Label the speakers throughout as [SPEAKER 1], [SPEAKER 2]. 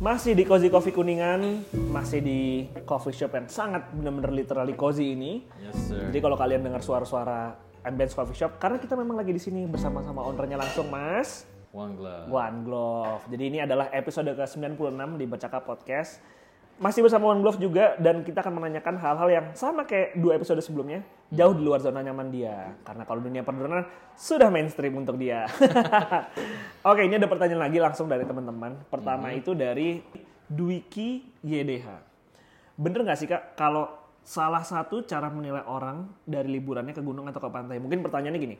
[SPEAKER 1] Masih di Cozy Coffee Kuningan, masih di coffee shop yang sangat benar-benar literally cozy ini.
[SPEAKER 2] Yes sir.
[SPEAKER 1] Jadi kalau kalian dengar suara-suara ambience coffee shop, karena kita memang lagi di sini bersama-sama ownernya langsung, Mas.
[SPEAKER 2] One glass.
[SPEAKER 1] One Glove. Jadi ini adalah episode ke-96 di Bercakap Podcast. Masih bersama One Glove juga dan kita akan menanyakan hal-hal yang sama kayak dua episode sebelumnya, jauh di luar zona nyaman dia. Karena kalau dunia perdunan sudah mainstream untuk dia. Oke, ini ada pertanyaan lagi langsung dari teman-teman. Pertama itu dari Dwiki YDH. Bener nggak sih kak kalau salah satu cara menilai orang dari liburannya ke gunung atau ke pantai? Mungkin pertanyaannya gini,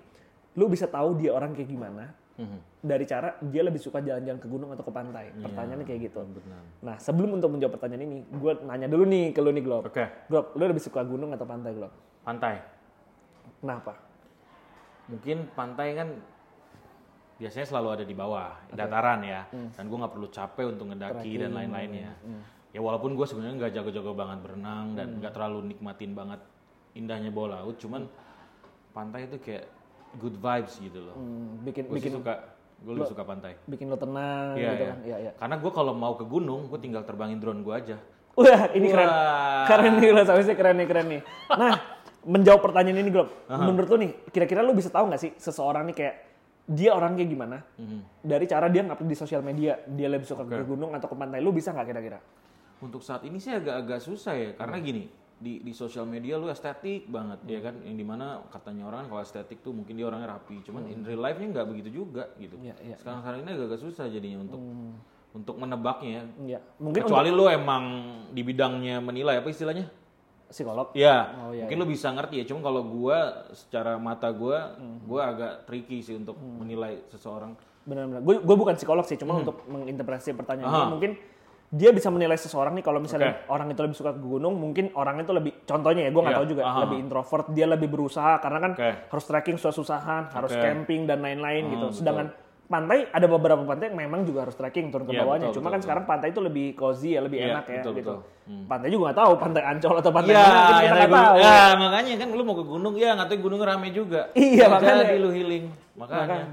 [SPEAKER 1] lu bisa tahu dia orang kayak gimana
[SPEAKER 2] Mhm.
[SPEAKER 1] dari cara dia lebih suka jalan-jalan ke gunung atau ke pantai?
[SPEAKER 2] Iya,
[SPEAKER 1] Pertanyaannya kayak gitu.
[SPEAKER 2] Benar.
[SPEAKER 1] Nah sebelum untuk menjawab pertanyaan ini, gue nanya dulu nih ke lu nih Glob.
[SPEAKER 2] Oke,
[SPEAKER 1] Glob, lu lebih suka gunung atau pantai Glob? Nah,
[SPEAKER 2] pantai.
[SPEAKER 1] Kenapa?
[SPEAKER 2] Mungkin pantai kan biasanya selalu ada di bawah dataran ya,
[SPEAKER 1] Hmm.
[SPEAKER 2] dan gue nggak perlu capek untuk ngedaki dan lain-lainnya. Ya walaupun gue sebenarnya nggak jago-jago banget
[SPEAKER 1] Hmm.
[SPEAKER 2] berenang dan nggak terlalu nikmatin banget indahnya bawah laut, cuman pantai itu kayak good vibes gitu loh.
[SPEAKER 1] Hmm, bikin
[SPEAKER 2] Gue
[SPEAKER 1] bikin
[SPEAKER 2] suka, gue lebih suka pantai.
[SPEAKER 1] bikin lo tenang
[SPEAKER 2] Iya,
[SPEAKER 1] gitu
[SPEAKER 2] iya.
[SPEAKER 1] kan? Iya iya.
[SPEAKER 2] Karena gue kalau mau ke gunung, gue tinggal terbangin drone gue aja.
[SPEAKER 1] Wah ini keren.
[SPEAKER 2] Wah.
[SPEAKER 1] Keren nih Glob, sampai sih keren nih keren nih. Nah menjawab pertanyaan ini Glob, menurut lu nih kira-kira lu bisa tahu nggak sih seseorang nih kayak dia orang kayak gimana?
[SPEAKER 2] Mhm.
[SPEAKER 1] Dari cara dia ngupload di sosial media, dia lebih suka ke gunung atau ke pantai, lu bisa nggak kira-kira?
[SPEAKER 2] Untuk saat ini sih agak-agak susah ya, karena
[SPEAKER 1] Hmm.
[SPEAKER 2] gini di di sosial media lu estetik banget ya kan, yang dimana katanya orang kan kalau estetik tuh mungkin dia orangnya rapi, cuman
[SPEAKER 1] Hmm.
[SPEAKER 2] in real life-nya nggak begitu juga gitu.
[SPEAKER 1] Iya, iya.
[SPEAKER 2] Sekarang sekarang ini agak-agak susah jadinya untuk untuk menebaknya.
[SPEAKER 1] Iya,
[SPEAKER 2] ya.
[SPEAKER 1] mungkin Hmm. untuk
[SPEAKER 2] Kecuali lu emang di bidangnya menilai apa istilahnya?
[SPEAKER 1] psikolog.
[SPEAKER 2] Ya,
[SPEAKER 1] Oh, iya,
[SPEAKER 2] mungkin lu bisa ngerti ya. Cuman kalau gua secara mata gua,
[SPEAKER 1] Hmm.
[SPEAKER 2] gua agak tricky sih untuk menilai seseorang.
[SPEAKER 1] benar-benar gue gue bukan psikolog sih
[SPEAKER 2] Hmm.
[SPEAKER 1] cuma untuk menginterpretasi pertanyaan ini, mungkin dia bisa menilai seseorang nih kalau misalnya orang itu lebih suka ke gunung mungkin orang itu lebih contohnya ya gue nggak
[SPEAKER 2] Iya,
[SPEAKER 1] tahu juga
[SPEAKER 2] aha.
[SPEAKER 1] lebih introvert dia lebih berusaha karena kan
[SPEAKER 2] Oke.
[SPEAKER 1] harus trekking susah-susahan harus
[SPEAKER 2] Oke.
[SPEAKER 1] camping dan lain-lain
[SPEAKER 2] Hmm,
[SPEAKER 1] gitu
[SPEAKER 2] betul.
[SPEAKER 1] sedangkan pantai ada beberapa pantai yang memang juga harus trekking turun ke
[SPEAKER 2] Iya,
[SPEAKER 1] bawahnya
[SPEAKER 2] betul,
[SPEAKER 1] cuma
[SPEAKER 2] betul,
[SPEAKER 1] kan sekarang pantai itu lebih cozy ya lebih
[SPEAKER 2] Iya,
[SPEAKER 1] enak ya
[SPEAKER 2] betul,
[SPEAKER 1] gitu
[SPEAKER 2] betul. Hmm.
[SPEAKER 1] pantai juga nggak tahu pantai ancol atau pantai
[SPEAKER 2] Iya,
[SPEAKER 1] mana, kita
[SPEAKER 2] yang
[SPEAKER 1] nggak
[SPEAKER 2] tadi gua-
[SPEAKER 1] tahu
[SPEAKER 2] ya, makanya kan lu mau ke gunung ya, nggak tahu gunung rame juga.
[SPEAKER 1] Iya,
[SPEAKER 2] Nggak
[SPEAKER 1] makanya.
[SPEAKER 2] Jadi lu healing, makanya.
[SPEAKER 1] Makanya.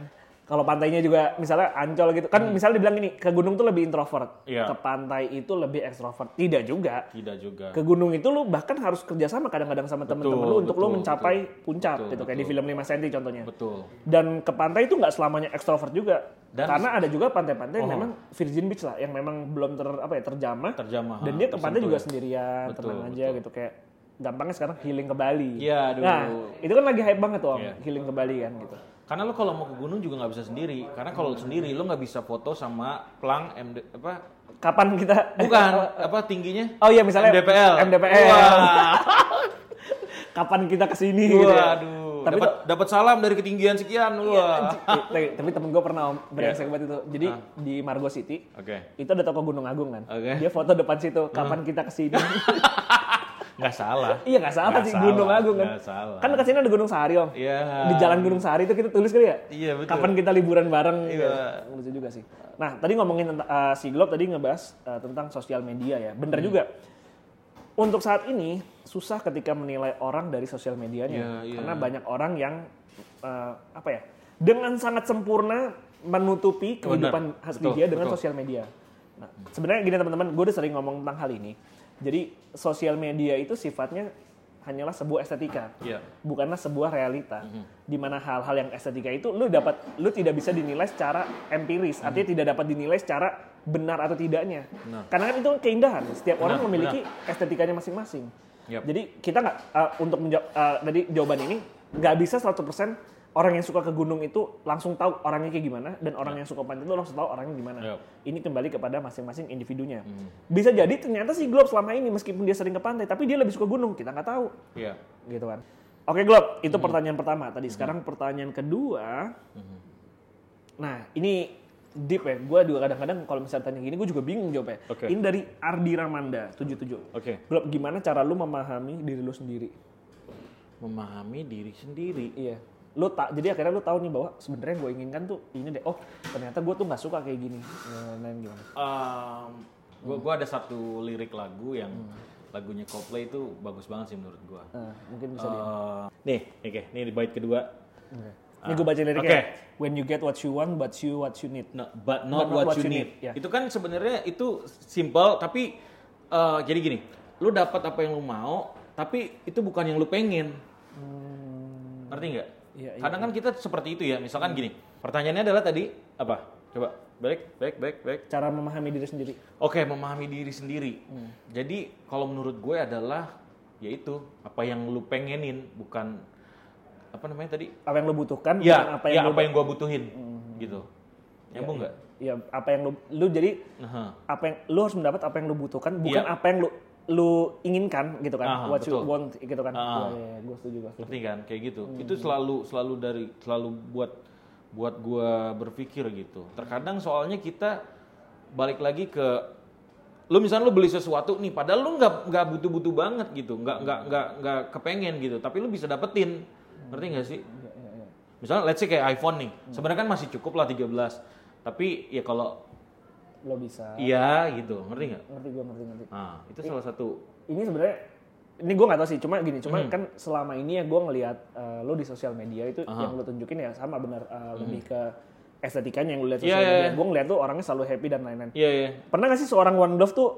[SPEAKER 1] Kalau pantainya juga misalnya ancol gitu. Kan misalnya dibilang gini, ke gunung tuh lebih introvert.
[SPEAKER 2] Hmm. Iya.
[SPEAKER 1] Ke pantai itu lebih ekstrovert. Tidak juga.
[SPEAKER 2] Tidak juga.
[SPEAKER 1] Ke gunung itu lu bahkan harus kerjasama kadang-kadang sama temen-temen lu untuk lu
[SPEAKER 2] betul,
[SPEAKER 1] mencapai puncak
[SPEAKER 2] Betul,
[SPEAKER 1] gitu. Kayak di film 5 cm contohnya.
[SPEAKER 2] Betul.
[SPEAKER 1] Dan ke pantai itu nggak selamanya ekstrovert juga.
[SPEAKER 2] Dan- Oh.
[SPEAKER 1] Karena ada juga pantai-pantai yang memang virgin beach lah. Yang memang belum ter, apa ya, terjamah.
[SPEAKER 2] Terjamah.
[SPEAKER 1] Dan dia ke pantai
[SPEAKER 2] tersentuh
[SPEAKER 1] juga
[SPEAKER 2] ya.
[SPEAKER 1] sendirian,
[SPEAKER 2] Betul,
[SPEAKER 1] tenang aja gitu. Kayak gampangnya sekarang healing ke Bali.
[SPEAKER 2] Iya, aduh.
[SPEAKER 1] Nah, itu kan lagi hype banget tuh Om,
[SPEAKER 2] Iya.
[SPEAKER 1] healing ke Bali kan gitu.
[SPEAKER 2] Karena lu kalau mau ke gunung juga nggak bisa sendiri. Karena kalau lu sendiri lu nggak bisa foto sama plang MD apa?
[SPEAKER 1] Kapan kita
[SPEAKER 2] Bukan,
[SPEAKER 1] eh,
[SPEAKER 2] apa tingginya?
[SPEAKER 1] Oh iya misalnya
[SPEAKER 2] MDPL.
[SPEAKER 1] MDPL.
[SPEAKER 2] Wah,
[SPEAKER 1] Kapan kita kesini gitu ya.
[SPEAKER 2] waduh.
[SPEAKER 1] Tapi Iya.
[SPEAKER 2] Dapat dapat salam dari ketinggian sekian. Wah.
[SPEAKER 1] tapi, tapi temen gue pernah om,
[SPEAKER 2] Iya.
[SPEAKER 1] brengsek banget itu. Jadi di Margo City
[SPEAKER 2] Oke.
[SPEAKER 1] itu ada toko Gunung Agung kan.
[SPEAKER 2] Ah. Oke. Ah.
[SPEAKER 1] Dia foto depan situ kapan kita kesini.
[SPEAKER 2] Nggak salah.
[SPEAKER 1] iya nggak salah
[SPEAKER 2] Nggak
[SPEAKER 1] sih Gunung
[SPEAKER 2] salah,
[SPEAKER 1] Agung kan.
[SPEAKER 2] nggak salah.
[SPEAKER 1] Kan kesini ada Gunung Sahari om.
[SPEAKER 2] Iya.
[SPEAKER 1] Di Jalan Gunung Sahari itu kita tulis kali ya.
[SPEAKER 2] Iya, betul.
[SPEAKER 1] Kapan kita liburan bareng?
[SPEAKER 2] Iya.
[SPEAKER 1] gitu. Lucu juga sih. Nah tadi ngomongin tentang eh, si Glob tadi ngebahas eh, tentang sosial media ya. Bener
[SPEAKER 2] Hmm.
[SPEAKER 1] juga. Untuk saat ini susah ketika menilai orang dari sosial medianya
[SPEAKER 2] Iya, iya.
[SPEAKER 1] karena banyak orang yang eh, apa ya dengan sangat sempurna menutupi kehidupan asli
[SPEAKER 2] betul,
[SPEAKER 1] dia dengan
[SPEAKER 2] betul.
[SPEAKER 1] sosial media. Nah, sebenarnya gini teman-teman, gue udah sering ngomong tentang hal ini. Jadi sosial media itu sifatnya hanyalah sebuah estetika,
[SPEAKER 2] Iya.
[SPEAKER 1] bukanlah sebuah realita.
[SPEAKER 2] Mhm.
[SPEAKER 1] Di mana hal-hal yang estetika itu lu dapat lu tidak bisa dinilai secara empiris, artinya tidak dapat dinilai secara benar atau tidaknya.
[SPEAKER 2] Mhm. Benar.
[SPEAKER 1] Karena kan itu keindahan, setiap orang
[SPEAKER 2] Benar,
[SPEAKER 1] memiliki estetikanya masing-masing.
[SPEAKER 2] Yap.
[SPEAKER 1] Jadi kita nggak eh, untuk menjawab eh, tadi jawaban ini nggak bisa 100% orang yang suka ke gunung itu langsung tahu orangnya kayak gimana dan orang yang suka pantai itu langsung tahu orangnya gimana.
[SPEAKER 2] Yap. Mhm.
[SPEAKER 1] Ini kembali kepada masing-masing individunya. Bisa jadi ternyata si Glob selama ini meskipun dia sering ke pantai tapi dia lebih suka gunung, kita nggak tahu
[SPEAKER 2] Iya.
[SPEAKER 1] gitu kan. Oke Glob,
[SPEAKER 2] Mm-hmm.
[SPEAKER 1] itu pertanyaan pertama tadi. Sekarang pertanyaan kedua. Nah, ini deep ya. Gue juga kadang-kadang kalau misalnya tanya gini, gue juga bingung jawabnya.
[SPEAKER 2] Oke.
[SPEAKER 1] Ini dari Ardi Ramanda 77.
[SPEAKER 2] Oke.
[SPEAKER 1] Glob, gimana cara lu memahami diri lu sendiri?
[SPEAKER 2] Memahami diri sendiri.
[SPEAKER 1] Iya. Lu tak jadi akhirnya lu tahu nih bahwa sebenarnya yang gue inginkan tuh ini deh. Oh, ternyata gue tuh nggak suka kayak gini. Nah, nah, gimana?
[SPEAKER 2] Um, gua gua ada satu lirik lagu yang lagunya Coldplay itu bagus banget sih menurut gua. Eh,
[SPEAKER 1] Nah, mungkin bisa di
[SPEAKER 2] Uh, nih, oke, nih di bait kedua.
[SPEAKER 1] Ini gue baca liriknya.
[SPEAKER 2] Oke.
[SPEAKER 1] When you get what you want, but you what you need.
[SPEAKER 2] No, but not, what, you need.
[SPEAKER 1] ya.
[SPEAKER 2] Itu kan sebenarnya itu simple tapi eh, jadi gini, lu dapat apa yang lu mau, tapi itu bukan yang lu pengen. Ngerti nggak?
[SPEAKER 1] Iya, iya,
[SPEAKER 2] Kadang kan kita seperti itu ya. Misalkan gini, pertanyaannya adalah tadi apa? Coba balik, balik, balik, balik.
[SPEAKER 1] Cara memahami diri sendiri.
[SPEAKER 2] Oke, memahami diri sendiri.
[SPEAKER 1] Hmm.
[SPEAKER 2] Jadi kalau menurut gue adalah yaitu apa yang lu pengenin bukan apa namanya tadi?
[SPEAKER 1] Apa yang lo butuhkan, bukan
[SPEAKER 2] Ya,
[SPEAKER 1] apa yang
[SPEAKER 2] ya,
[SPEAKER 1] lo...
[SPEAKER 2] apa yang gue butuhin gitu. Nyambung nggak? Nah,
[SPEAKER 1] Ya, apa yang lo... Lu jadi,
[SPEAKER 2] Aha.
[SPEAKER 1] apa yang... Lu harus mendapat apa yang lo butuhkan, bukan
[SPEAKER 2] Iya.
[SPEAKER 1] apa yang lo lu inginkan gitu kan
[SPEAKER 2] Aha,
[SPEAKER 1] what you
[SPEAKER 2] betul.
[SPEAKER 1] want gitu kan
[SPEAKER 2] Ah.
[SPEAKER 1] Iya, iya, iya, gue setuju gue setuju
[SPEAKER 2] ngerti kan kayak gitu itu selalu selalu dari selalu buat buat gua berpikir gitu terkadang soalnya kita balik lagi ke lu misalnya lu beli sesuatu nih padahal lu nggak nggak butuh butuh banget gitu nggak nggak nggak nggak kepengen gitu tapi lu bisa dapetin ngerti nggak sih misalnya let's say kayak iPhone nih sebenarnya kan masih cukup lah 13 tapi ya kalau
[SPEAKER 1] lo bisa
[SPEAKER 2] iya gitu ngerti nggak
[SPEAKER 1] ngerti gue ngerti ngerti
[SPEAKER 2] nah itu salah satu
[SPEAKER 1] ini sebenarnya ini gue nggak tahu sih cuma gini
[SPEAKER 2] Hmm.
[SPEAKER 1] cuma kan selama ini ya gue ngelihat eh, lo di sosial media itu yang lo tunjukin ya sama benar eh,
[SPEAKER 2] Hmm.
[SPEAKER 1] lebih ke estetikanya yang lo lihat sosial
[SPEAKER 2] Iya, iya,
[SPEAKER 1] media gue ngeliat tuh orangnya selalu happy dan lain-lain
[SPEAKER 2] iya iya
[SPEAKER 1] pernah gak sih seorang one love tuh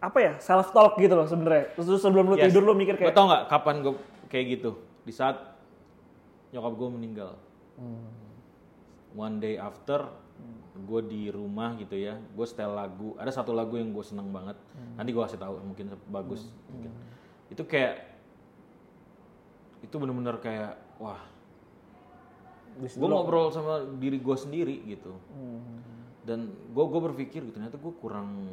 [SPEAKER 1] apa ya self talk gitu loh sebenarnya terus sebelum lo
[SPEAKER 2] Yes.
[SPEAKER 1] tidur lo mikir
[SPEAKER 2] Lo
[SPEAKER 1] kayak
[SPEAKER 2] tau nggak kapan gue kayak gitu? Di saat nyokap gue meninggal.
[SPEAKER 1] "Hmm."
[SPEAKER 2] One day after gue di rumah gitu ya, gue setel lagu. Ada satu lagu yang gue seneng banget. Nanti gue kasih tahu mungkin bagus. Mungkin. Itu kayak itu bener-bener kayak wah.
[SPEAKER 1] Di situ
[SPEAKER 2] Gue ngobrol sama diri gue sendiri gitu.
[SPEAKER 1] Hmm.
[SPEAKER 2] Dan gue gue berpikir gitu ternyata gue kurang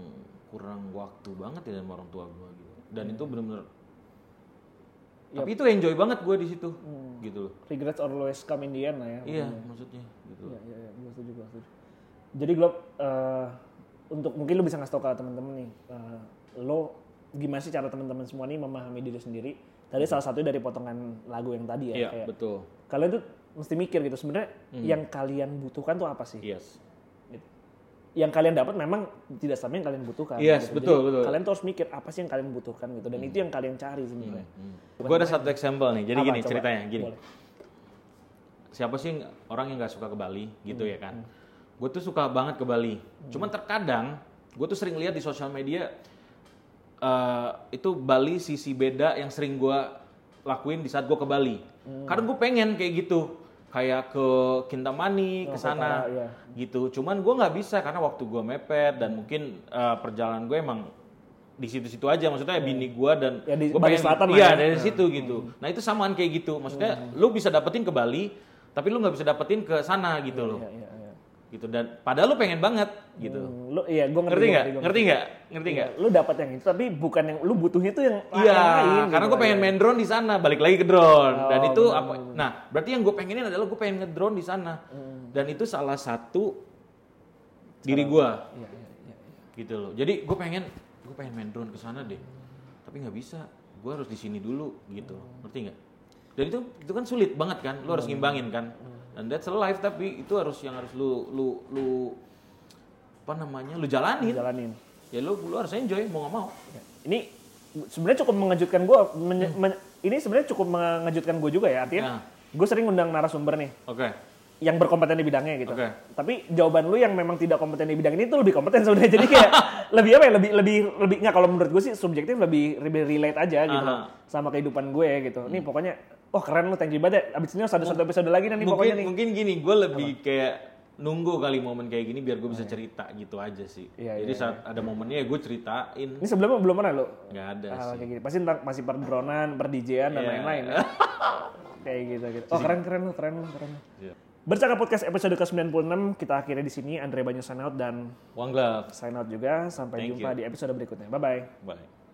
[SPEAKER 2] kurang waktu banget ya sama orang tua gue gitu. Dan itu bener-bener tapi itu enjoy banget gue di situ, gitu loh.
[SPEAKER 1] regrets always come in the end lah ya
[SPEAKER 2] Iya, maksudnya gitu.
[SPEAKER 1] Iya, iya, iya, gue setuju, gue setuju. Jadi Glob, eh, untuk mungkin lo bisa ngasih tau ke teman-teman nih, eh, lo gimana sih cara teman-teman semua nih memahami diri sendiri? Tadi salah satu dari potongan lagu yang tadi ya,
[SPEAKER 2] Iya, Hmm.
[SPEAKER 1] kayak
[SPEAKER 2] betul.
[SPEAKER 1] kalian tuh mesti mikir gitu sebenarnya yang kalian butuhkan tuh apa sih?
[SPEAKER 2] Yes.
[SPEAKER 1] Gitu. Yang kalian dapat memang tidak sama yang kalian butuhkan.
[SPEAKER 2] Yes,
[SPEAKER 1] gitu.
[SPEAKER 2] betul,
[SPEAKER 1] Jadi,
[SPEAKER 2] betul. Hmm.
[SPEAKER 1] Kalian tuh harus mikir apa sih yang kalian butuhkan gitu, dan itu yang kalian cari sebenarnya.
[SPEAKER 2] Gue ada satu example nih. Jadi
[SPEAKER 1] Apa,
[SPEAKER 2] gini
[SPEAKER 1] coba?
[SPEAKER 2] ceritanya, gini.
[SPEAKER 1] Boleh.
[SPEAKER 2] Siapa sih yang- orang yang nggak suka ke Bali, gitu
[SPEAKER 1] Hmm.
[SPEAKER 2] ya kan? Gue tuh suka banget ke Bali. Cuman terkadang gue tuh sering lihat di sosial media eh, itu Bali sisi beda yang sering gue lakuin di saat gue ke Bali.
[SPEAKER 1] Hmm.
[SPEAKER 2] Karena gue pengen kayak gitu, kayak ke Kintamani, ke
[SPEAKER 1] utara,
[SPEAKER 2] sana.
[SPEAKER 1] iya.
[SPEAKER 2] gitu cuman gue nggak bisa karena waktu gue mepet dan mungkin eh, perjalanan gue emang di situ-situ aja maksudnya ya bini gue dan
[SPEAKER 1] Ya, di
[SPEAKER 2] gua
[SPEAKER 1] Bali Selatan lah
[SPEAKER 2] iya
[SPEAKER 1] ya.
[SPEAKER 2] dari situ gitu nah itu samaan kayak gitu maksudnya
[SPEAKER 1] Hmm.
[SPEAKER 2] lu bisa dapetin ke Bali tapi lu nggak bisa dapetin ke sana gitu loh
[SPEAKER 1] Iya, iya, iya.
[SPEAKER 2] gitu dan padahal lu pengen banget gitu
[SPEAKER 1] Hmm, Lo, iya, gue ngerti,
[SPEAKER 2] ngerti nggak
[SPEAKER 1] gua
[SPEAKER 2] ngerti nggak ngerti nggak
[SPEAKER 1] Ya, Lu dapat yang itu tapi bukan yang lu butuhnya tuh yang
[SPEAKER 2] Iya,
[SPEAKER 1] yang lain.
[SPEAKER 2] karena
[SPEAKER 1] gitu. Oh.
[SPEAKER 2] gue pengen main drone di sana, balik lagi ke drone. Dan itu apa? Nah, berarti yang gue pengenin adalah gue pengen ngedrone di sana.
[SPEAKER 1] Hmm.
[SPEAKER 2] Dan itu salah satu diri gue.
[SPEAKER 1] Iya,
[SPEAKER 2] Gitu loh. Jadi gue pengen, gue pengen main drone ke sana deh. Tapi nggak bisa. Gue harus di sini dulu, gitu. Ngerti nggak? Dan itu itu kan sulit banget kan. Lu
[SPEAKER 1] Hmm.
[SPEAKER 2] harus ngimbangin kan. Dan that's life tapi itu harus yang harus lu lu lu apa namanya? Lu jalanin.
[SPEAKER 1] iya. jalanin. Iya.
[SPEAKER 2] Ya lu lu harus enjoy mau nggak mau.
[SPEAKER 1] Ini sebenarnya cukup mengejutkan gue.
[SPEAKER 2] Hmm.
[SPEAKER 1] ini sebenarnya cukup mengejutkan gue juga ya.
[SPEAKER 2] Ya.
[SPEAKER 1] Artinya gue sering undang narasumber nih
[SPEAKER 2] Oke.
[SPEAKER 1] yang berkompeten di bidangnya gitu.
[SPEAKER 2] Oke.
[SPEAKER 1] Tapi jawaban lu yang memang tidak kompeten di bidang ini tuh lebih kompeten sebenarnya. Jadi kayak lebih apa ya? Lebih lebih lebih nggak kalau menurut gue sih subjektif lebih lebih relate aja gitu
[SPEAKER 2] Aha. Hmm.
[SPEAKER 1] sama kehidupan gue gitu. Nih pokoknya wah keren lu thank you banget. ya. Abis ini harus ada satu episode lagi nih
[SPEAKER 2] mungkin
[SPEAKER 1] pokoknya nih.
[SPEAKER 2] mungkin gini gue lebih kayak nunggu kali momen kayak gini biar gue bisa cerita gitu aja sih
[SPEAKER 1] Iya,
[SPEAKER 2] jadi
[SPEAKER 1] iya,
[SPEAKER 2] saat ada momennya ya gue ceritain
[SPEAKER 1] Ini sebelumnya belum pernah lo
[SPEAKER 2] nggak
[SPEAKER 1] hal
[SPEAKER 2] ada Iya sih
[SPEAKER 1] kayak gini. Pasti tentang masih perdronan, perdijaan dan
[SPEAKER 2] Iya.
[SPEAKER 1] lain-lain ya. kayak gitu gitu. Oh keren keren lo, keren lo, keren lo.
[SPEAKER 2] Iya.
[SPEAKER 1] Bercakap podcast episode ke-96 kita akhiri di sini Andre Banyu sign out dan
[SPEAKER 2] one glove
[SPEAKER 1] sign out juga sampai
[SPEAKER 2] Thank
[SPEAKER 1] jumpa di episode berikutnya. Bye bye.
[SPEAKER 2] bye